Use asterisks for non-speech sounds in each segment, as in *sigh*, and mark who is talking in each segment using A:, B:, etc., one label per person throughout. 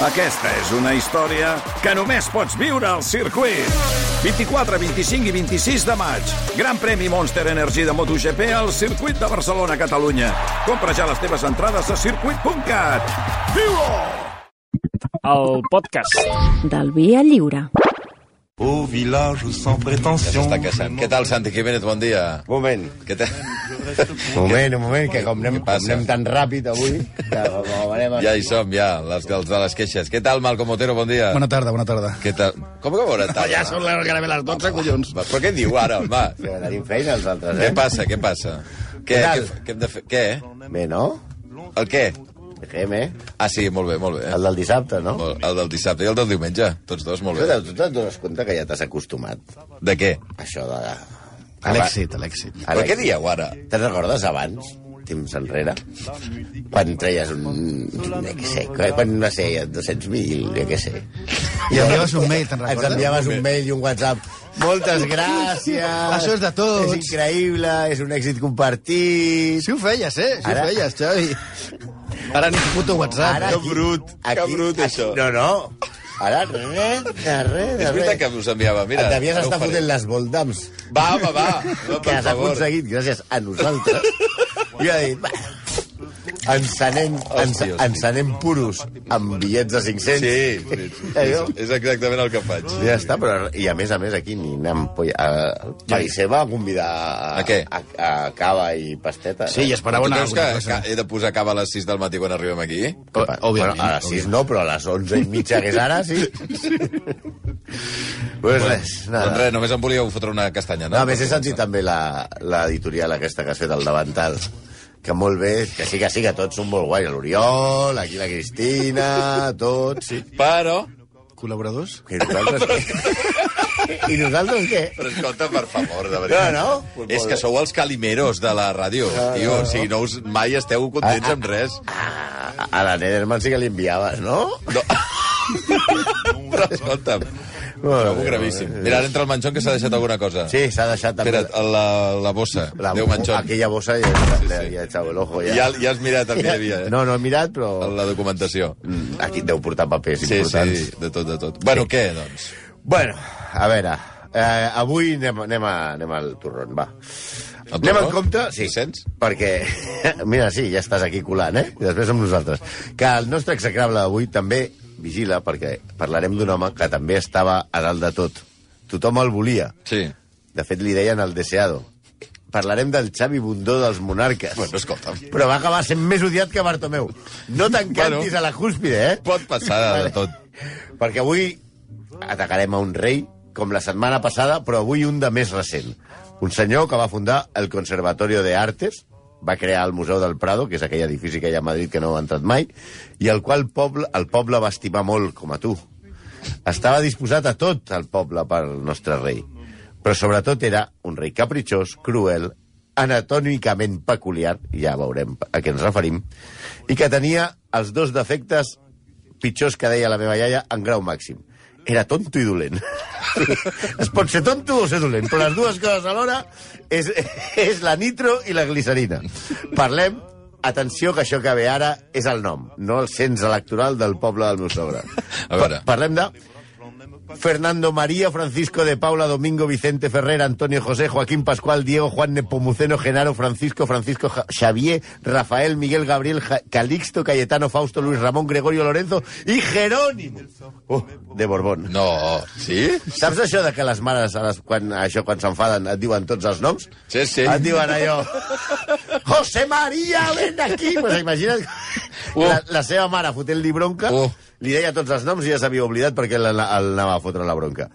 A: Aquesta és una història que només pots viure al circuit. 24, 25 i 26 de maig. Gran premi Monster Energy de MotoGP al circuit de Barcelona, Catalunya. Compra ja les teves entrades a circuit.cat. Viu-ho!
B: El podcast.
C: del Via Lliure.
D: Au village sans prétention.
E: Està casant. Què tal, Santi Jiménez? Bon dia.
F: Moment,
E: Què tal?
F: un moment, un moment, que com anem,
E: Què
F: com
E: passa?
F: anem tan ràpid avui, que com anem...
E: Ja hi som, ja, les, els de les queixes. Què tal, Malcom Otero? Bon dia.
G: Bona tarda, bona tarda.
E: Què tal? Com que bona tarda?
G: Ja són les gairebé les 12, collons.
E: Va, Però què diu ara, home?
F: Però tenim feina els altres,
E: què
F: eh?
E: passa, què passa? Què,
F: Què tal?
E: què, f- què hem de fer? Què?
F: Bé, no?
E: El què?
F: Fem, eh?
E: Ah, sí, molt bé, molt bé.
F: El del dissabte, no?
E: Molt- El del dissabte i el del diumenge. Tots dos, molt bé.
F: Escolta, tu te'n dones compte que ja t'has acostumat a
E: De què?
F: això de...
G: A l'èxit, a l'èxit.
F: Ara-
E: Però què dieu ara?
F: Te'n recordes abans? temps enrere, quan treies un... Ja què sé, quan va ser 200.000, ja què sé.
G: I enviaves un mail, te'n
F: Ens
G: recordes?
F: enviaves un mail i un WhatsApp. Moltes gràcies.
G: Això és de tots.
F: És increïble, és un èxit compartit.
G: Sí ho feies, eh? Sí
F: Ara-
G: ho feies, Xavi. Ara ni puto WhatsApp.
F: Ara
G: eh?
F: aquí-
E: brut, que brut, això.
F: No, no. Ara res, de res, de
E: És veritat
F: res.
E: que us enviava, mira.
F: Et devies
E: no ho
F: estar
E: faré.
F: fotent les voldams
E: Va, home,
F: *laughs*
E: va. No,
F: que
E: per
F: has
E: favor.
F: aconseguit gràcies a
E: *laughs*
F: nosaltres. I ha dit, va, ens anem, ens,
E: Hòstia,
F: ens anem puros amb bitllets de
E: Sí,
F: 500.
E: sí, sí.
F: *laughs* Allò.
E: És, és exactament el que faig.
F: Ja està, però... I a més a més, aquí ni anem... Polla, a, a va convidar... A,
E: A què?
F: A, a cava i pasteta.
G: Sí, i esperava
E: Tu
G: una
E: creus que,
G: alguna cosa.
E: que he de posar cava a les 6 del matí quan arribem aquí?
G: O-
F: Bueno,
G: Òbviament.
F: a les 6 no, però a les 11 i mitja, que és ara, sí.
E: *laughs*
F: pues res,
E: Doncs
F: nada.
E: res, només em volíeu fotre una castanya, no?
F: Ah. No, a més, he sentit també la- l'editorial aquesta que has fet al davantal que molt bé, que sí, que sí, que tots són molt guais. L'Oriol, aquí la Cristina, tots, sí.
E: Però...
G: Col·laboradors?
F: I nosaltres què? I nosaltres què?
E: Però escolta, per favor, de veritat.
F: No, no. Ah.
E: És que sou els calimeros de la ràdio, tio. O sigui, no us, mai esteu contents amb res.
F: A, a la Nederman sí que li enviaves, no?
E: No. Però escolta'm, trobo gravíssim. Mira, ara entra el Manchón que s'ha deixat alguna cosa.
F: Eh, Sí, s'ha deixat també...
E: Espera't, la, la bossa.
F: la,
E: Déu, Manchón.
F: aquella bossa ja,
E: Sí,
F: sí,
E: sí.
F: ja, ja, xau, l'ojo, ja.
E: Ja, ja has mirat el que hi havia, eh?
F: No, no he mirat, però...
E: La documentació.
F: Mm, Aquí deu portar papers
E: Sí,
F: importants.
E: sí, de tot, de tot. Bueno, què, doncs?
F: Bueno, a veure... Eh, avui anem, anem, a, anem al torrón, va.
E: El
F: Anem
E: torró?
F: en compte...
E: Ho sents?
F: Perquè... *laughs* Mira, sí, ja estàs aquí colant, eh? I després amb nosaltres. Que el nostre execrable d'avui també vigila, perquè parlarem d'un home que també estava a dalt de tot. Tothom el volia.
E: Sí.
F: De fet, li deien el deseado. Parlarem del Xavi Bundó dels Monarques.
E: Bueno, escolta'm.
F: Però va acabar sent més odiat que Bartomeu. No t'encantis
E: Bueno.
F: bueno, a la cúspide, eh?
E: Pot passar de, de tot.
F: Perquè avui atacarem a un rei, com la setmana passada, però avui un de més recent. Un senyor que va fundar el Conservatorio de Artes, va crear el Museu del Prado, que és aquell edifici que hi ha a Madrid que no ha entrat mai, i el qual poble, el poble va estimar molt, com a tu. Estava disposat a tot el poble pel nostre rei. Però sobretot era un rei capritxós, cruel, anatòmicament peculiar, ja veurem a què ens referim, i que tenia els dos defectes pitjors que deia la meva iaia en grau màxim. Era tonto i dolent. es pot ser tonto o ser dolent, però les dues coses alhora és, és la nitro i la glicerina. Parlem, atenció, que això que ve ara és el nom, no el cens electoral del poble del meu sobre.
E: A veure.
F: parlem de Fernando María, Francisco de Paula, Domingo Vicente Ferrer, Antonio José, Joaquín Pascual, Diego Juan Nepomuceno, Genaro, Francisco, Francisco Ja- Xavier, Rafael, Miguel Gabriel, Ja- Calixto, Cayetano, Fausto, Luis Ramón, Gregorio Lorenzo y Jerónimo uh, de Borbón.
E: No, sí?
F: Saps això de que les mares, a les, quan, això quan s'enfaden, et diuen tots els noms?
E: Sí, sí.
F: Et diuen allò... José María, ven aquí! Pues imagina't
E: Uh.
F: la, la seva mare fotent-li bronca,
E: Uh.
F: li deia tots els noms i ja s'havia oblidat perquè la- la- el anava a fotre la bronca.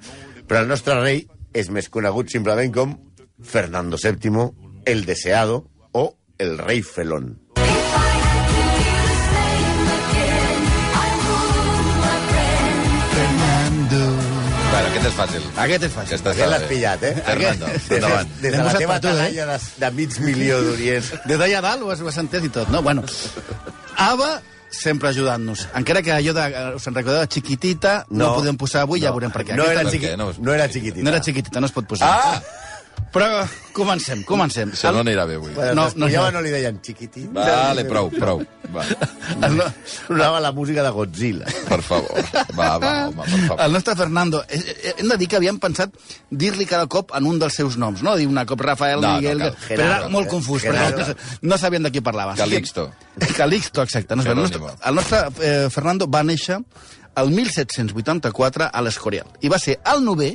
F: Però el nostre rei és més conegut simplement com Fernando VII, el deseado o el rei felón.
E: Bueno, aquest és fàcil. Ah,
G: Aquest és fàcil.
E: Aquesta
F: Ja
E: està
F: l'has
E: bé.
F: pillat, eh?
E: Fernando,
F: Des de,
E: endavant.
F: des de
G: L'hem
F: la
G: posat
F: teva
G: per tu, eh?
F: talalla de, de mig milió d'orients.
G: Des d'allà dalt ho has, ho has entès i tot, no? Bueno, Ava sempre ajudant-nos. Encara que allò de... eh, Us en recordeu de Chiquitita? No, no podem posar avui, ja veurem per què.
F: No
G: Aquesta
F: era,
E: Per
F: xiqui...
E: què? No,
F: no era xiquitita.
G: no era Chiquitita, no es pot posar.
F: Ah!
G: Però comencem, comencem.
E: Això no anirà bé avui.
G: No, no,
F: ja
G: no.
F: no li deien xiquitín.
E: Vale, prou, prou. Va,
G: El, no,
F: Sonava la música de Godzilla.
E: per favor. Va, va, home, per favor.
G: el nostre Fernando, eh, eh, hem de dir que havíem pensat dir-li cada cop en un dels seus noms, no? Dir una cop Rafael,
E: No, no
G: Miguel...
E: cal.
G: però era
F: Gerardo,
G: molt
F: eh?
G: confús,
F: Gerardo.
G: perquè no, no sabien de qui parlava.
E: Calixto.
G: Calixto, exacte. No és el, nostre,
E: Jerónimo.
G: el nostre eh, Fernando va néixer el 1784 a l'Escorial i va ser el novè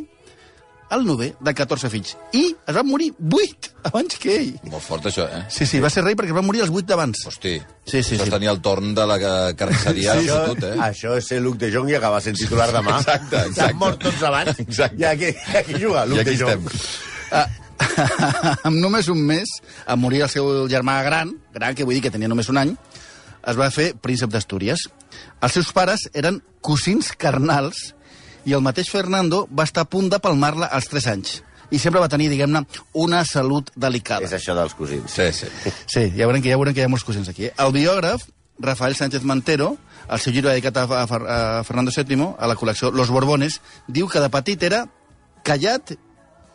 G: el novè de 14 fills. I es van morir 8 abans que ell.
E: Molt fort, això, eh?
G: Sí, sí, va ser rei perquè es van morir els 8 d'abans.
E: Hosti,
G: Sí, sí,
E: això
G: sí.
E: tenia el torn de la ca- carnisseria sí,
F: això,
E: tot, eh?
F: això és ser Luc de Jong i acabar sent titular demà.
E: Exacte, exacte.
F: S'han mort tots abans.
E: Exacte.
F: I aquí, aquí juga
E: I
F: Luc
E: aquí
F: de Jong.
E: estem.
G: Ah, *laughs* amb només un mes, en morir el seu germà gran, gran que vull dir que tenia només un any, es va fer príncep d'Astúries. Els seus pares eren cosins carnals i el mateix Fernando va estar a punt de palmar-la als 3 anys. I sempre va tenir, diguem-ne, una salut delicada.
F: És això dels cosins.
E: Sí, sí.
G: Sí, ja veurem, que, ja veurem que hi ha molts cosins aquí. eh? El biògraf, Rafael Sánchez Mantero, el seu llibre dedicat a, a, Fer- a Fernando VII, a la col·lecció Los Borbones, diu que de petit era callat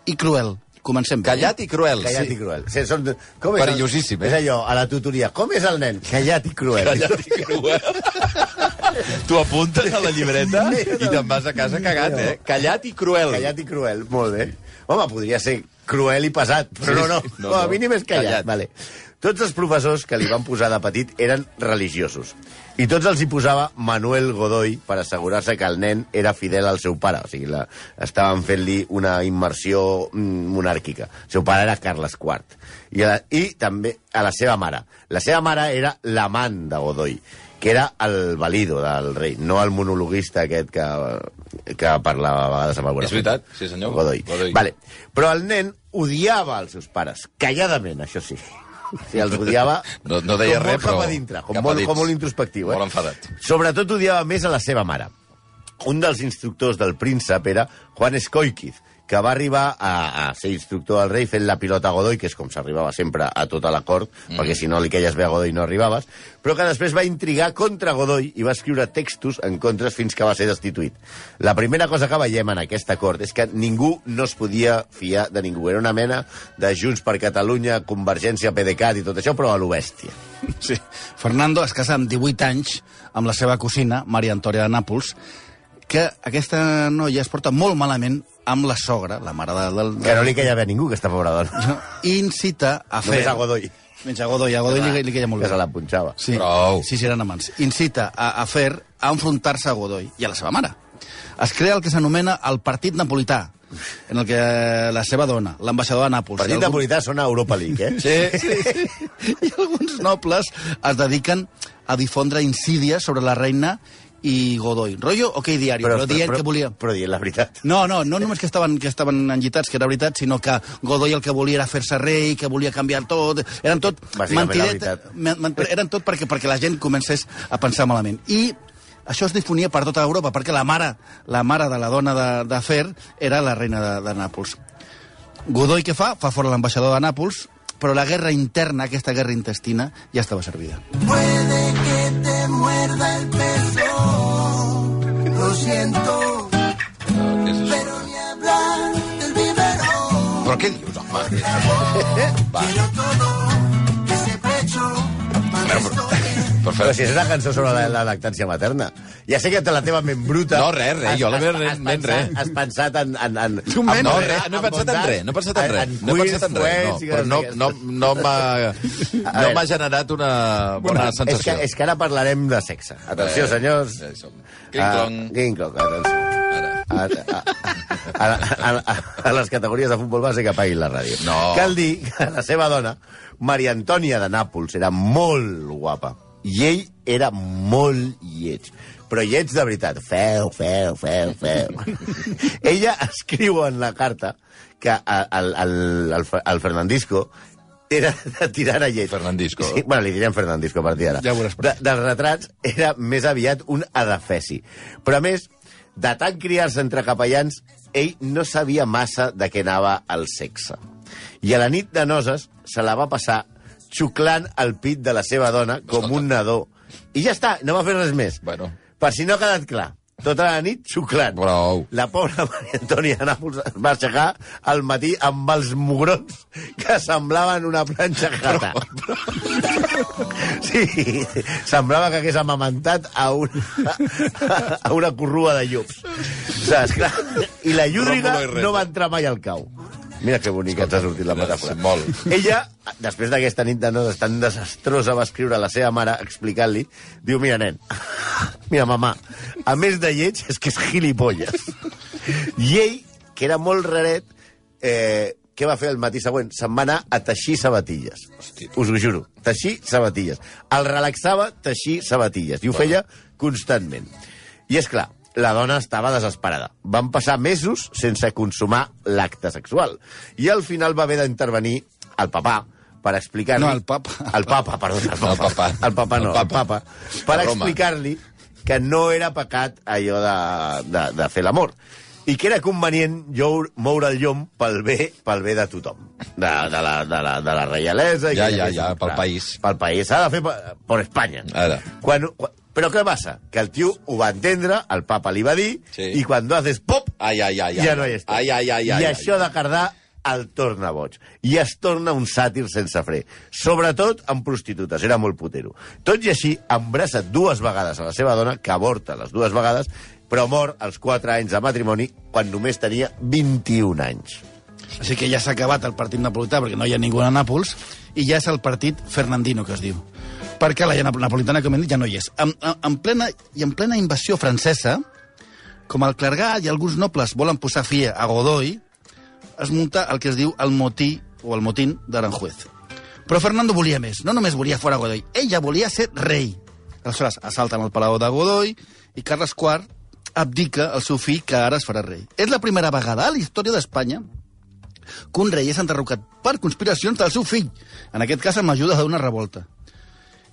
G: i cruel. Comencem bé. eh?
E: Callat i cruel.
F: Callat i cruel. Sí, són, com
E: Perillosíssim, eh?
F: És allò, a la tutoria. Com és el nen? Callat i cruel.
E: Callat i
F: *laughs*
E: cruel. tu apuntes a la llibreta i te'n vas a casa cagat, eh? Callat i cruel.
F: Callat i cruel, molt bé. Home, podria ser cruel i pesat, però
E: Sí,
F: no, no,
E: sí, no,
F: no, com a
E: no.
F: mínim és
E: Callat.
F: callat. callat. *laughs* Vale. Tots els professors que li van posar de petit eren religiosos. I tots els hi posava Manuel Godoy per assegurar-se que el nen era fidel al seu pare. O sigui, la, estaven fent-li una immersió mm, monàrquica. El seu pare era Carles IV. I, a la, I també a la seva mare. La seva mare era l'amant de Godoy, que era el valido del rei, no el monologuista aquest que, que parlava a vegades amb el
E: És veritat, sí, senyor.
F: Godoy.
E: Godoy.
F: Vale. Però el nen odiava els seus pares, calladament, això sí. O sigui, els odiava...
E: No- no deia
F: com
E: res,
F: molt cap
E: però
F: a dintre, com,
E: cap a
F: molt,
E: dins.
F: com molt introspectiu. Eh?
E: Molt enfadat.
F: Sobretot odiava més a la seva mare. Un dels instructors del príncep era Juan Escoiquiz, que va arribar a, a ser instructor del rei fent la pilota a Godoy, que és com s'arribava sempre a tota la cort, mm. perquè si no li caies bé a Godoy no arribaves, però que després va intrigar contra Godoy i va escriure textos en contres fins que va ser destituït. La primera cosa que veiem en aquesta cort és que ningú no es podia fiar de ningú. Era una mena de Junts per Catalunya, Convergència, PDeCAT i tot això, però a l'obèstia.
G: Sí. Fernando es casa amb 18 anys amb la seva cosina, Maria Antòria de Nàpols, que aquesta noia es porta molt malament amb la sogra, la mare del... del,
F: Que no li caia bé a ningú, aquesta pobra dona.
G: I incita a fer...
F: Només a Godoy.
G: Menys a Godoy, a Godoy li, li caia molt
F: Que se
G: bé.
F: la punxava.
G: Sí,
E: Prou.
G: sí, sí, eren amants. Incita a, a fer, a enfrontar-se a Godoy i a la seva mare. Es crea el que s'anomena el Partit Napolità, en el que la seva dona, l'ambaixador de Nàpols...
F: Partit
G: i algun-
F: napolità sona a Europa League, eh?
E: Sí, sí.
G: *laughs* i alguns nobles es dediquen a difondre insídies sobre la reina i Godoy. Rollo OK Diari, però, però dient que volia...
F: Però dient la veritat.
G: No, no, no només que estaven, que estaven enllitats, que era veritat, sinó que Godoy el que volia era fer-se rei, que volia canviar tot... Eren tot
F: Bàsicament, la veritat.
G: men- men- Eren tot perquè, perquè la gent comencés a pensar malament. I això es difonia per tota Europa, perquè la mare, la mare de la dona de, de Fer era la reina de, de Nàpols. Godoy què fa? Fa fora l'ambaixador de Nàpols, però la guerra interna, aquesta guerra intestina, ja estava servida.
C: Puede que te muerda el peso. Lo siento,
E: Què és això?
C: pero ni hablar del vivero.
E: Però què dius, home?
C: Quiero todo, ese pecho, para el resto
H: *laughs*
C: de-
E: Per
F: Però
E: fer...
F: si és una cançó sobre la, la lactància materna. Ja sé que té la teva ment bruta...
E: No, res, res, jo la meva ment,
F: has,
E: ment,
F: pensat-
E: res.
F: Has pensat en... en, en
G: Tu ment,
E: No,
G: res,
E: re, no he pensat en res, no he pensat en res. No he pensat en res, no. Però no, no, no
F: *laughs*
E: m'ha no m'ha generat una bona
F: És que,
E: sensació.
F: és que ara parlarem de sexe. Atenció,
E: Eh,
F: senyors.
E: ja
F: Ah,
E: hi som. Cling-clong.
F: Cling-clong, atenció.
E: Ara.
F: a, a, a, a, a les categories de futbol base que apaguin la ràdio.
E: No.
F: Cal dir que la seva dona, Maria Antònia de Nàpols, era molt guapa. I ell era molt lleig. Però lleig de veritat. Feu, feu, feu, feu.
E: *laughs*
F: Ella escriu en la carta que a- al, al, al, Fer- al Fernandisco era de tirar a lleig.
E: Fernandisco.
F: Sí, bueno, li direm Fernandisco a partir d'ara.
G: Ja ho veuràs.
F: De, dels retrats era més aviat un adafesi. Però, a més, de tant criar-se entre capellans, ell no sabia massa de què anava el sexe. I a la nit de noses se la va passar xuclant el pit de la seva dona com un nadó. I ja està, no va fer res més.
E: Bueno.
F: Per si no ha quedat clar, tota la nit xuclant.
E: Prou.
F: La pobra *laughs* Maria Antònia de Nàpols es va aixecar al matí amb els mugrons que semblaven una planxa grata. Sí, semblava que hagués amamentat a una, a una corrua de llops. Saps? Clar? I la llúdriga
E: Rómulo i Remo.
F: no va entrar mai al cau. Mira que bonic que ens ha sortit la
E: mira,
F: metàfora.
E: sí, molt.
F: Ella, després d'aquesta nit de nodes tan desastrosa, va escriure a la seva mare explicant-li, diu, mira, nen, *laughs* mira, mamà, a més de lleig, és que és gilipolles. I ell, que era molt raret, eh, què va fer el matí següent? Se'n va anar a teixir sabatilles. Us ho juro, teixir sabatilles. El relaxava teixir sabatilles, i ho feia constantment. I és clar, la dona estava desesperada. Van passar mesos sense consumar l'acte sexual. I al final va haver d'intervenir el papà per explicar-li...
G: No, el papa.
F: El papa, perdó. El papa.
E: El papa.
F: El papa
E: El
F: no, el
E: papa.
F: papa. Per
E: A Roma.
F: explicar-li que no era pecat allò de, de, de fer l'amor i que era convenient llour, moure el llom pel bé pel bé de tothom, de, de, la, de, la, de la reialesa... i
E: Ja,
F: que-
E: ja, ja, pel país.
F: Pel país, s'ha de fer per, per Espanya.
E: Ara.
F: Quan, quan, però què passa? Que el tio ho va entendre, el papa li va dir,
E: Sí. Ah,
F: i quan haces pop,
E: Ai, ai, ai, ai.
F: ja no hi està.
E: Ai, ai, ai, ai, ai.
F: I això de Cardà el torna boig. I es torna un sàtir sense fre. Sobretot amb prostitutes, era molt putero. Tot i així, embraça dues vegades a la seva dona, que avorta les dues vegades, però mor als 4 anys de matrimoni quan només tenia 21 anys.
G: Així que ja s'ha acabat el partit napolità, perquè no hi ha ningú a Nàpols, i ja és el partit Fernandino, que es diu. Perquè la llei nap- napolitana, com hem dit, ja no hi és. En, en, en plena, I en plena invasió francesa, com el clergat i alguns nobles volen posar fi a Godoy, es munta el que es diu el motí o el motín d'Aranjuez. Però Fernando volia més. No només volia fora Godoy, ell ja volia ser rei. Aleshores, assalten el palau de Godoy i Carles IV abdica el seu fill, que ara es farà rei. És la primera vegada a la història d'Espanya que un rei és enderrocat per conspiracions del seu fill, en aquest cas amb ajuda d'una revolta.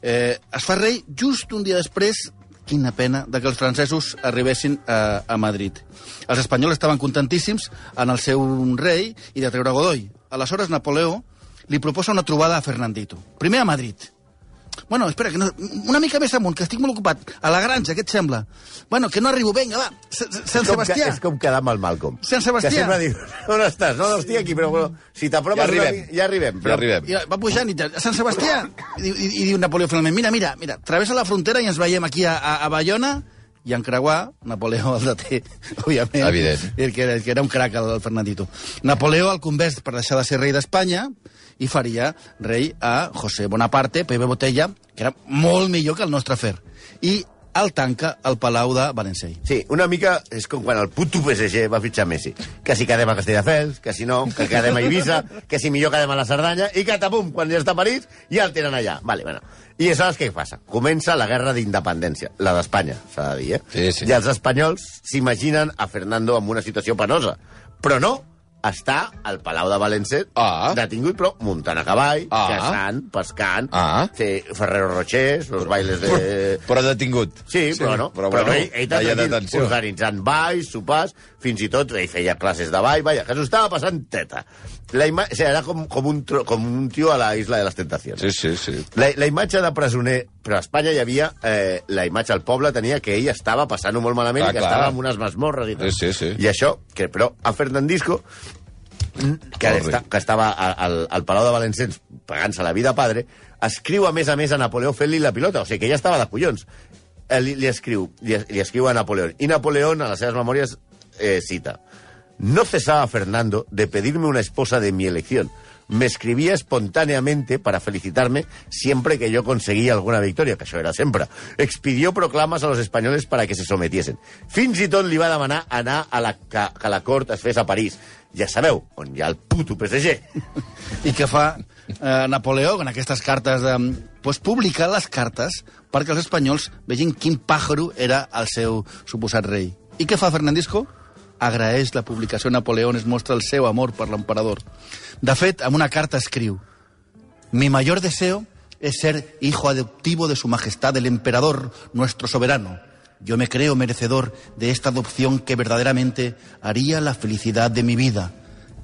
G: Eh, es fa rei just un dia després quina pena de que els francesos arribessin eh, a, a Madrid. Els espanyols estaven contentíssims en el seu rei i de treure Godoy. Aleshores, Napoleó li proposa una trobada a Fernandito. Primer a Madrid. Bueno, espera, que no, una mica més amunt, que estic molt ocupat. A la granja, què et sembla? Bueno, que no arribo, vinga, va. S- S-
F: Com
G: Sant
F: que,
G: Sebastià.
F: és com quedar amb el Malcolm.
G: Sant Sebastià.
F: Que sempre diu, on estàs? No, no, estic aquí, però bueno, si t'apropes...
E: Ja
F: una
E: arribem.
F: mi- Ja arribem.
E: Ja arribem.
G: I va pujant i tal. Sant Sebastià! I, diu- i, i diu Napoleó finalment, mira, mira, mira, travessa la frontera i ens veiem aquí a, a, a Bayona i en creuar, Napoleó el deté, *laughs* òbviament.
E: Evident.
G: El que, era, el que era un crac, el, el Fernandito. Napoleó el convers per deixar de ser rei d'Espanya i faria rei a José Bonaparte, Pepe Botella, que era molt millor que el nostre fer. I el tanca al Palau de Valencià.
F: Sí, una mica és com quan el puto PSG va fitxar Messi. Que si quedem a Castelldefels, que si no, que quedem a Eivissa, que si millor quedem a la Cerdanya, i que tapum, quan ja està a París, ja el tenen allà. Vale, bueno. I aleshores què passa? Comença la guerra d'independència, la d'Espanya, s'ha de dir, eh?
E: Sí, sí.
F: I els espanyols s'imaginen a Fernando en una situació penosa. Però no, està al Palau de València,
E: Ah.
F: detingut, però muntant a cavall,
E: Ah.
F: caçant, pescant,
E: Ah.
F: té Ferrero Rochers, els bailes de...
E: Però detingut.
F: Sí, però no.
E: Però, bueno,
F: ell, ell
E: allà
F: també
E: detenció.
F: organitzant balls, sopars, fins i tot ell feia classes de ball, vaja, que s'ho estava passant teta. La ima... o sigui, era com, com, un tro... com un tio a la Isla de les Tentacions.
E: Sí, sí, sí.
F: La, la imatge de presoner... Però a Espanya hi havia... Eh, la imatge al poble tenia que ell estava passant-ho molt malament
E: Clar,
F: i que
E: Ah, clar.
F: estava en unes masmorres i tal.
E: Sí, sí, sí.
F: I això, que, però a Fernandisco, que,
E: Corre.
F: està, que estava a- al, al Palau de Valencians pagant-se la vida padre, escriu a més a més a Napoleó fent-li la pilota, o sigui que ja estava de collons. Eh, Li, li, escriu, li, li escriu a Napoleó. I Napoleó, a les seves memòries, eh, cita... No cesaba Fernando de pedirme una esposa de mi elección. Me escribía espontáneamente para felicitarme siempre que yo conseguía alguna victòria, que això era sempre. Expidió proclames a los españoles para que se sometiesen. Fins i tot li va demanar anar a la, que, que la cort es fes a París. Ja sabeu, on hi ha el puto PSG.
G: i que fa eh, Napoleó en aquestes cartes de... Pues publicar les cartes perquè els espanyols vegin quin pàjaro era el seu suposat rei. I què fa Fernandisco? Agraeix la publicació a Napoleó on es mostra el seu amor per l'emperador. De fet, amb una carta escriu Mi mayor deseo es ser hijo adoptivo de su majestad el emperador, nuestro soberano. Yo me creo merecedor de esta adopción que verdaderamente haría la felicidad de mi vida,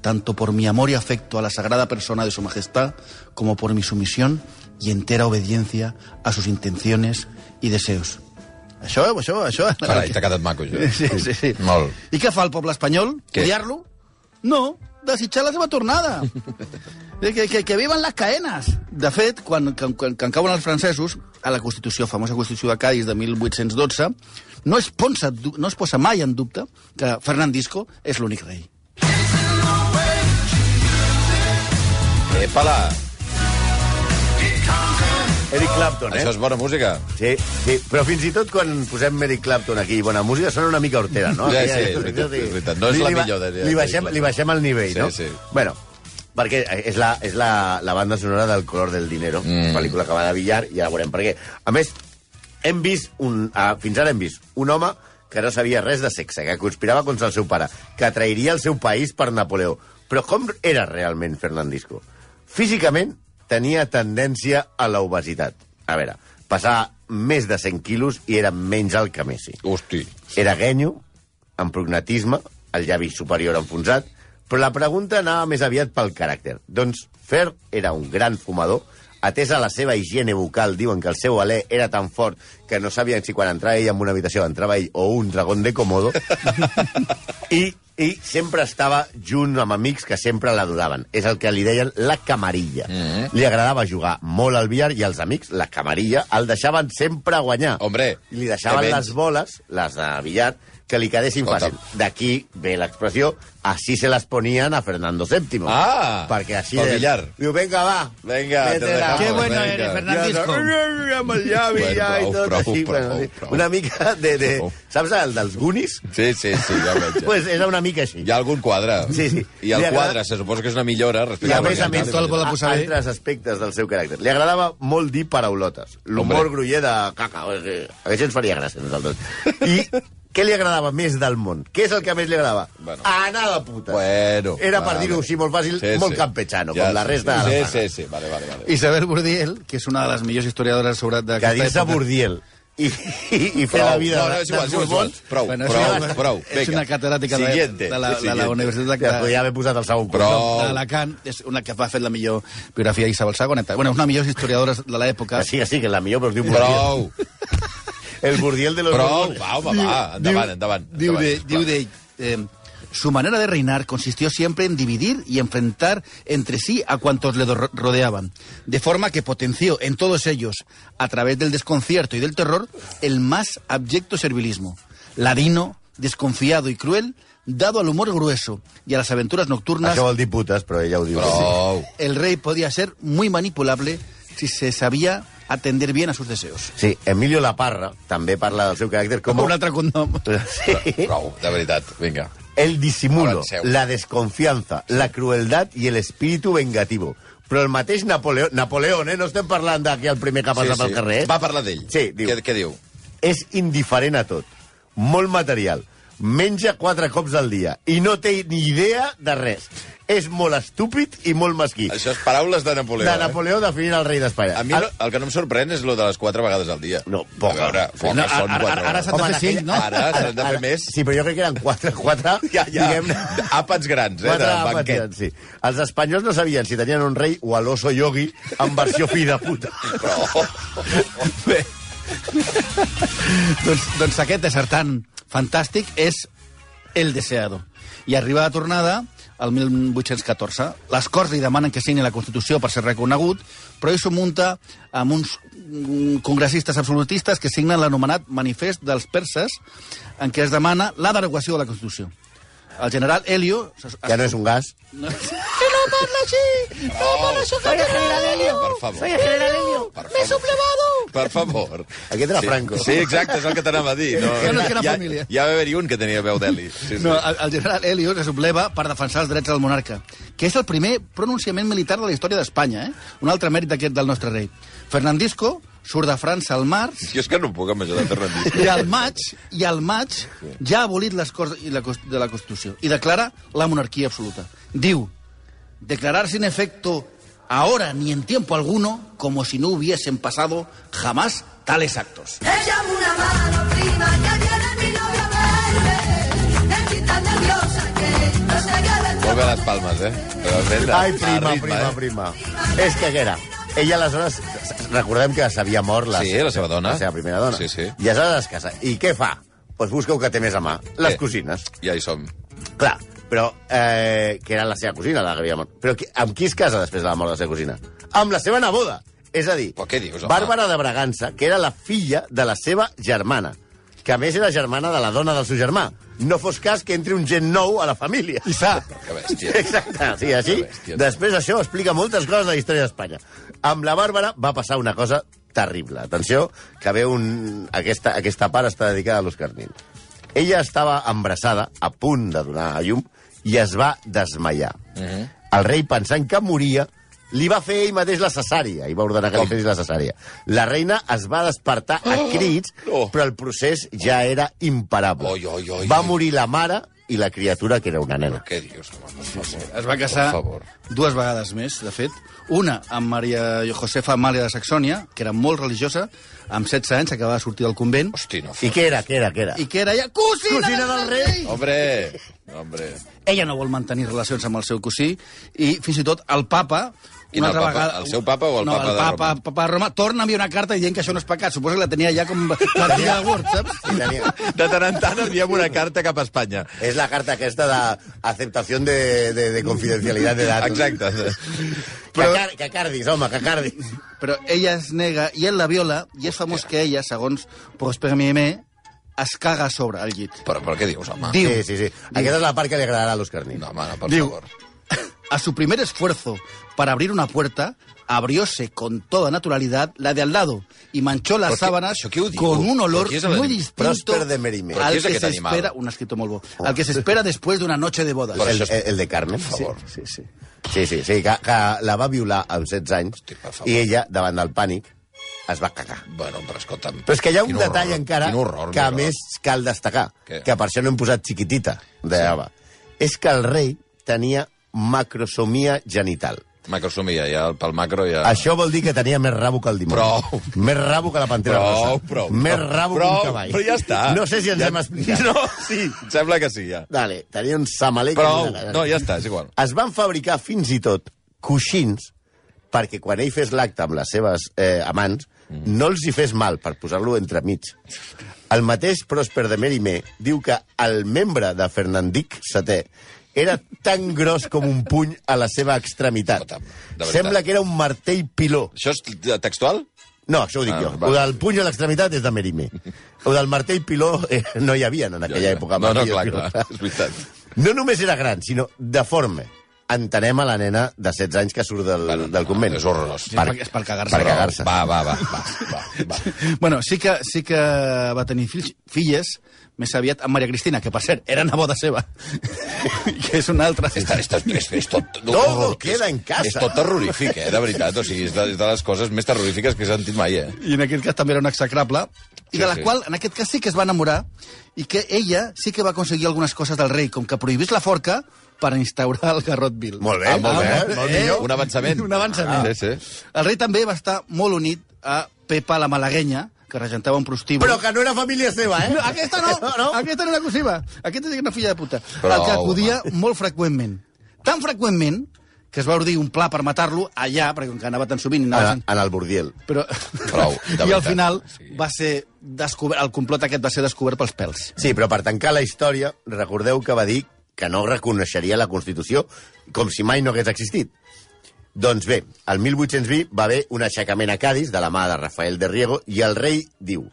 G: tanto por mi amor y afecto a la sagrada persona de su majestad, como por mi sumisión y entera obediencia a sus intenciones y deseos. Això, això, això...
E: Carai, t'ha quedat maco,
F: *laughs*
E: això.
G: Sí, sí, sí.
E: Molt.
G: I què fa el poble espanyol?
E: Què?
G: Odiar-lo? No, desitjar la seva tornada. Eh, que, que, que vivan les caenes. De fet, quan, quan, quan, quan cauen els francesos, a la Constitució, famosa Constitució de Cádiz de 1812, no es, ponsa, du- no es posa mai en dubte que Fernandisco és l'únic rei.
E: Epa-la!
F: Eric Clapton, eh?
E: Això és bona música.
F: Sí, sí, però fins i tot quan posem Eric Clapton aquí i bona música sona una mica hortera, no? eh,
E: Ja, sí, és veritat, és veritat. No és
F: Li-
E: la
F: li ba-
E: millor de-
F: Li baixem,
E: de-
F: li baixem el nivell,
E: Sí,
F: no?
E: sí.
F: Bueno, perquè és la, és la, la banda sonora del color del dinero, mm. pel·lícula que va de billar, i ja veurem per què. A més, hem vist, un, ah, fins ara hem vist, un home que no sabia res de sexe, que conspirava contra el seu pare, que trairia el seu país per Napoleó. Però com era realment Fernandisco? Físicament tenia tendència a la obesitat. A veure, pesava més de 100 quilos i era menys alt que Messi.
E: Hosti.
F: Era guenyo, amb prognatisme, el llavi superior enfonsat, però la pregunta anava més aviat pel caràcter. Doncs Fer era un gran fumador, atesa la seva higiene bucal, diuen que el seu alè era tan fort que no sabien si quan entrava ell en una habitació entrava ell o un dragón de Komodo, i, i sempre estava junt amb amics que sempre l'adoraven. És el que li deien la camarilla. Mm -hmm. Li agradava jugar molt al billar i els amics, la camarilla, el deixaven sempre guanyar.
E: Hombre,
F: I li deixaven
E: que menys.
F: les boles, les de billar, que li quedessin
E: Escolta'm.
F: fàcil. D'aquí ve l'expressió, així se les ponien a Fernando VII.
E: Ah,
F: perquè així...
E: pel
F: de-
E: billar.
F: Diu, venga, va.
E: Venga, te
F: vete la-
E: dejamos,
G: Ah, Qué bueno
E: venga.
G: eres, Fernando.
F: Ja,
G: Francisco.
F: no, amb el llavi
E: Bueno,
F: ja i
E: prou,
F: tot
E: prou,
F: així.
E: prou,
F: bueno, sí.
E: prou.
F: Una mica de... de
E: Prou.
F: saps el dels Goonies?
E: Sí, sí, sí, ja ho veig.
F: Pues era una mica així.
E: Hi ha algun quadre.
F: Sí, sí.
E: I el
F: Li agrada-
E: quadre se suposa que és una millora
F: I
E: respecte
F: a
E: la
F: més a més,
E: original.
G: el vol posar bé.
F: altres aspectes del seu caràcter. Li agradava molt dir paraulotes. L'humor
E: Hombre.
F: gruller de caca. o sigui, Això ens faria gràcia a nosaltres.
E: *laughs*
F: I què li agradava més del món? Què és el que més li agradava?
E: Bueno.
F: Anar de putes.
E: Bueno,
F: Era, per
E: vale.
F: dir-ho així molt fàcil,
E: Sí,
F: molt
E: sí.
F: campechano, com la
E: sí,
F: resta de la
E: sí, sí, sí, vale, vale. vale.
G: Isabel Burdiel, que és una de les millors historiadores sobre
F: Que
G: d'aquesta
F: dir-se Burdiel i, i, i fer la vida
E: no, no, és igual, és
F: dels
E: igual, és igual.
F: Borbons,
E: Prou,
G: Bueno, és
E: prou,
G: una-
E: prou.
G: és una catedràtica de-
E: Siguiente,
G: de la- de la
E: siguiente.
G: Universitat de-
F: que podria haver posat el segon
E: Prou.
F: cognom.
E: Oh.
G: d'Alacant, és una que va fer la millor biografia d'Isabel II. Bueno, és una de les millors historiadores de l'època.
F: Que sí, que sí, que la millor, però es diu
E: Prou,
F: Burdiel. El Burdiel de los
E: prou,
F: Borbones.
E: va, home, va, Ah, endavant, endavant.
G: Diu
E: endavant,
G: de,
E: sisplau.
G: diu de, eh, su manera de reinar consistió siempre en dividir y enfrentar entre sí a cuantos le do- rodeaban, de forma que potenció en todos ellos, a través del desconcierto y del terror, el más abyecto servilismo. Ladino, desconfiado y cruel, dado al humor grueso y a las aventuras nocturnas,
F: Això vol dir putes, però ella ho diu.
E: Prou.
G: el rey podía ser muy manipulable si se sabía atender bien a sus deseos. Oh.
F: Sí, Emilio Laparra també parla del seu caràcter com...
G: Como
E: *laughs*
G: un altre condom. *laughs*
F: Sí.
E: Prou, de veritat, vinga.
F: El disimulo,
E: Avanceu.
F: la desconfianza, la crueldad y el espíritu vengativo. Però el mateix Napoleó... Napoleón, eh? No estem parlant d'aquí el primer que passa pel carrer, eh?
E: Va parlar d'ell.
F: Sí, diu.
E: Què, què diu?
F: És indiferent a tot. Molt material. Menja quatre cops al dia. I no té ni idea de res. És molt estúpid i molt mesquí.
E: Això és paraules de Napoleó.
F: De
E: eh?
F: Napoleó definint el rei d'Espanya.
E: A mi no, el que no em sorprèn és lo de les quatre vegades al dia.
F: No, poca.
E: A veure, poca,
G: No,
E: són
G: ara-
E: quatre
G: ara- ara
E: vegades.
G: s'han de
F: Home,
G: fer cinc,
F: aquella-
G: no?
E: Ara s'han de fer més.
F: Sí, però jo crec que eren quatre, quatre,
E: *laughs* Ja, ja.
F: diguem-ne,
E: Àpats grans, eh, de
F: Quatre
E: banquet.
F: patrons, sí. Els espanyols no sabien si tenien un rei o a l'oso yogi en
E: *laughs*
F: versió fill de puta.
E: Però... Bé,
G: doncs, doncs aquest desertant fantàstic és el deseado. I arriba a tornada al 1814. Les Corts li demanen que signi la Constitució per ser reconegut, però ell s'ho munta amb uns mm, congressistes absolutistes que signen l'anomenat Manifest dels Perses, en què es demana la derogació de la Constitució. El general Helio...
F: Ja no és un gas.
E: per favor. Soy el general Helio. Me suplevado. Per favor.
F: Aquest era
E: sí,
F: Franco.
E: Sí, exacte, és el que t'anava a dir. No,
G: Ja no és que era
E: hi ha-
G: família.
E: Hi va haver-hi un que tenia veu d'Eli. Sí, sí.
G: No, el, el general Helios es subleva per defensar els drets del monarca, que és el primer pronunciament militar de la història d'Espanya, eh? Un altre mèrit d'aquest del nostre rei. Fernandisco surt de França al març
E: Jo és que no puc amb això de Fernandisco.
G: i al maig i al maig ja ha abolit les Corts i la, Cons- de la Constitució i declara la monarquia absoluta. Diu, declarar sin efecto ahora ni en tiempo alguno como si no hubiesen pasado jamás tales actos.
H: Échame una mano, prima, que viene mi novio a verme. Estoy tan nerviosa que no sé qué
E: Molt bé
H: decir.
E: a les palmes, eh? Realment,
F: Ai,
E: a
F: prima,
E: ritme,
F: prima,
E: eh?
F: prima. És que què era? ella aleshores, recordem que s'havia mort la,
E: Sí, la seva dona.
F: La seva primera dona.
E: Sí, sí.
F: I aleshores es casa. I què fa? Doncs pues busca el que té més a mà. Les
E: Què?
F: cosines.
E: Ja hi som.
F: Clar, però eh, que era la seva cosina, la que havia mort. Però qui, amb qui es casa després de la mort de la seva cosina? Amb la seva neboda. És a dir,
E: Però què dius, home?
F: Bàrbara de Bragança, que era la filla de la seva germana, que a més era germana de la dona del seu germà. No fos cas que entri un gent nou a la família. I fa.
E: Que bèstia.
F: *laughs* Exacte, sí, així.
E: Que bèstia.
F: Després això explica moltes coses de la història d'Espanya. Amb la Bàrbara va passar una cosa terrible. Atenció, que ve un... Aquesta, aquesta part està dedicada a l'Òscar Nin. Ella estava embarassada, a punt de donar a llum, i es va desmaiar. Uh
E: Mhm.
F: -huh. El rei, pensant que moria, li va fer ell mateix la cesària, i va ordenar que li
E: Com? Oh!
F: fessis la cesària. La reina es va despertar a crits,
E: no.
F: però el procés ja era imparable.
E: Oi, oi, oi,
F: va
E: oi.
F: morir la mare i la criatura, que era una nena.
E: Què dius, home? Per favor.
G: Es va casar
E: Per favor.
G: dues vegades més, de fet. Una amb Maria Josefa Amàlia de Saxònia, que era molt religiosa, amb 16 anys, acabava de sortir del convent,
E: Hosti, no.
F: I
E: Fa...
F: què era, què era, què era?
G: i que era ja cosina,
F: Cosina del rei!
E: Hombre, hombre.
G: Ella no vol mantenir relacions amb el seu cosí, i fins i tot el papa...
E: Quin, el papa? El seu papa o el
G: no,
E: papa
G: el
E: de
G: papa,
E: Roma?
G: papa de Roma. Torna a enviar una carta dient que això no és pecat. Suposo que la tenia ja com partida de Word, saps?
F: I tenia...
E: De tant en tant enviem una carta cap a Espanya.
F: És la carta aquesta d'acceptació de, de, de confidencialitat de datos.
E: Exacte.
F: Però... Que, car que cardis, home, que cardis.
G: Però ella es nega i ell la viola i és famós que ella, segons Prosper Miemé, es caga a sobre al llit.
E: Però, però què dius, home?
G: Diu-
F: Sí, sí, sí. Aquesta és la part que li agradarà a l'Òscar Nin.
E: No, home, no, per
G: Diu-
E: favor.
G: A su primer esfuerzo para abrir una puerta, abrióse con toda naturalidad la de al lado y manchó las
E: Però què-
G: sábanas
E: això què ho diu?
G: con un
E: Però
G: olor
E: qui és
G: muy
E: l'animal?
G: distinto
F: Prosper de Merimé.
E: Però
G: al
E: qui és
G: que se
E: aquest animal?
G: espera, un escrito molt bo, al que se espera després d'una noche de bodas.
E: Però
F: Ah. El,
E: això
F: el,
E: és-
F: el de Carmen, per favor.
G: Sí, sí.
F: Sí, sí, sí, que, que la va violar amb 16 anys
E: Hosti, per favor.
F: i ella, davant del pànic, es va cagar.
E: Bueno, però escolta'm...
F: Però és que hi ha un
E: quin
F: detall
E: horror,
F: encara
E: quin horror,
F: que, a
E: quin horror.
F: més, cal destacar,
E: Què?
F: que per això no hem posat xiquitita, de sí. És que el rei tenia macrosomia genital.
E: Macrosomia, ja, pel macro ja...
F: Això vol dir que tenia més rabo que el dimoni.
E: Ah. Prou.
F: Més rabo que la pantera
E: Prou,
F: rosa.
E: prou,
F: Més
E: prou,
F: rabo
E: prou,
F: que un cavall.
E: però ja està.
F: No sé si ens
E: Ja-
F: hem explicat.
E: No, sí, em sembla que sí, ja.
F: Dale, tenia un samalé... que
E: Prou,
F: no era-
E: no, ja està, és igual.
F: Es van fabricar fins i tot coixins perquè quan ell fes l'acte amb les seves eh, amants
E: Mm.
F: no els hi fes mal per posar-lo entremig. El mateix Prosper de Mérimée diu que el membre de Fernandic VII era tan gros com un puny a la seva extremitat.
E: Escolta'm, de veritat.
F: Sembla que era un martell piló.
E: Això és textual?
F: No, això ho dic
E: Ah,
F: ah, jo.
E: va.
F: Va. O del puny a l'extremitat és de
E: *laughs*
F: Merimé. O del martell piló eh, no hi havia en aquella
E: Ja, ja.
F: època.
E: No, no,
F: martells
E: clar,
F: pilós.
E: clar, és veritat.
F: No només era gran, sinó deforme. Entenem a la nena de 16 anys que surt del,
E: Bueno,
F: bueno,
E: no,
F: del convent.
E: és horrorós.
G: És per-
F: *laughs*
G: és per cagar-se.
F: Per cagar-se.
E: Va, va, va, va, va, va.
G: *laughs* Bueno, sí que, sí que va tenir fills, filles, més aviat amb Maria Cristina, que per cert, era neboda seva, *laughs* que és una altra...
E: Està, està, és, és tot...
F: Todo queda en casa.
E: És tot terrorífic, eh, de veritat. O sigui, és de, és de les coses més terrorífiques que he sentit mai, eh.
G: i en aquest cas també era una execrable, i
E: Sí,
G: de la
E: sí.
G: qual, en aquest cas, sí que es va enamorar, i que ella sí que va aconseguir algunes coses del rei, com que prohibís la forca per instaurar el Garrotville.
F: Molt bé,
E: Ah, molt bé,
F: molt bé. Molt millor.
E: Un avançament.
G: Un avançament.
E: Ah, sí, sí.
G: El rei també va estar molt unit a Pepa la Malaguenya, que regentava un prostíbul.
F: Però que no era família seva, eh?
G: No, aquesta no,
F: no.
G: aquesta no era cosiva. Aquesta sí que era una filla de puta.
E: Però,
G: Però, el que acudia home. molt freqüentment. Tan freqüentment que es va ordir un pla per matar-lo allà, perquè com que anava tan sovint... i Anava
F: En,
G: Sant...
F: en el Bordiel.
G: Però... *laughs*
E: Prou, de
G: I al
E: veritat.
G: final
E: Sí.
G: va ser descobert, el complot aquest va ser descobert pels pèls.
F: Sí, però per tancar la història, recordeu que va dir que no reconeixeria la Constitució com si mai no hagués existit. Doncs bé, el 1820 va haver un aixecament a Cádiz de la mà de Rafael de Riego i el rei diu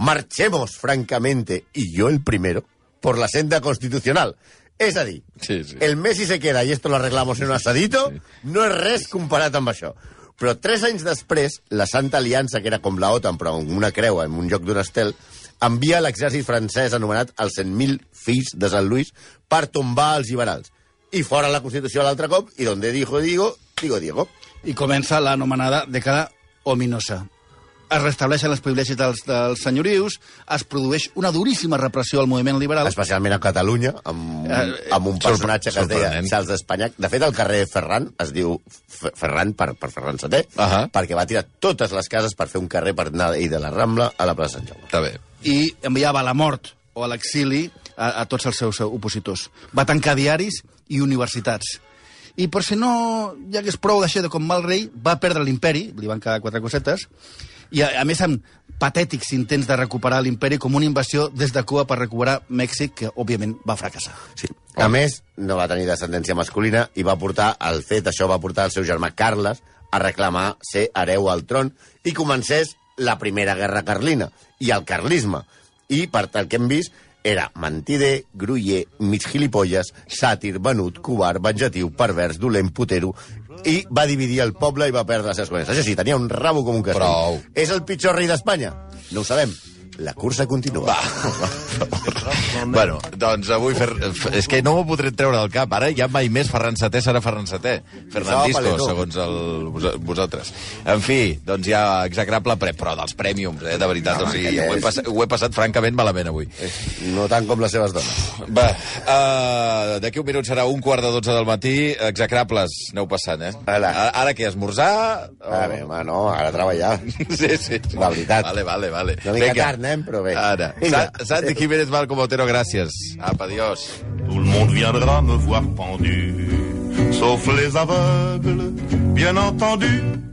F: «Marchemos, francamente, y yo el primero, por la senda constitucional». És a dir,
E: Sí, sí.
F: el Messi se queda i esto lo arreglamos en un asadito, no és res comparat amb això. Però tres anys després, la Santa Aliança, que era com la OTAN, però amb una creu, en un lloc d'un estel, envia l'exèrcit francès anomenat els 100.000 fills de Sant Lluís per tombar els liberals. I fora la Constitució l'altre cop, i donde dijo Diego, digo Diego.
G: I comença l'anomenada dècada ominosa. Es restableixen els privilegis dels, dels senyorius, es produeix una duríssima repressió al moviment liberal...
F: Especialment a Catalunya, amb,
G: Eh,
F: amb un
E: sorpre-
F: personatge que es deia
E: sorprenent.
F: Charles d'Espanyac. De fet, el carrer Ferran es diu F- Ferran per, per Ferran VII,
E: Ahà.
F: perquè va tirar totes les cases per fer un carrer per anar i de la Rambla a la plaça Sant Jaume.
E: Està bé.
G: i enviava a la mort o a l'exili a, a tots els seus opositors. Va tancar diaris i universitats. I per si no ja que és prou d'això de com va el rei, va perdre l'imperi, li van quedar quatre cosetes, i a, a més amb patètics intents de recuperar l'imperi com una invasió des de Cuba per recuperar Mèxic, que òbviament va fracassar.
F: Sí. A més, no va tenir descendència masculina i va portar el fet, això va portar el seu germà Carles a reclamar ser hereu al tron i comencés la primera guerra carlina i el carlisme. I, per tal que hem vist, era mentider, gruller, mig gilipolles, sàtir, venut, covard, venjatiu, pervers, dolent, putero, i va dividir el poble i va perdre les seves colònies. Això sí, tenia un rabo com un castell.
E: Prou.
F: És el pitjor rei d'Espanya? No ho sabem. La cursa continua.
E: Bueno, doncs avui... Fer... És que no m'ho podré treure del cap. Ara ja mai més Ferran Setè serà Ferran Setè. Fernandisco,
F: Paletó.
E: segons el... vos- vosaltres. En fi, doncs ja execrable pre... però dels prèmiums, eh, de veritat.
F: No,
E: o sigui,
F: aquest
E: ho he,
F: és-
E: pass... ho he passat francament malament avui.
F: *laughs* No tant com les seves dones.
E: Va, uh, d'aquí un minut serà un quart de dotze del matí. Execrables, aneu passant, eh?
F: Ala.
E: Ara, ara què, esmorzar? O...
F: Ara Ah, bé, home, no, ara a treballar.
E: *laughs* Sí, sí.
F: La veritat.
E: Vale, vale, vale.
F: Una mica tard anem, eh, però bé.
E: Ara.
F: Vinga.
E: Sa- Santi Jiménez Malcom Otero, gràcies. Apa, adiós.
D: Tout le monde viendra me voir pendu, sauf les aveugles, bien entendu.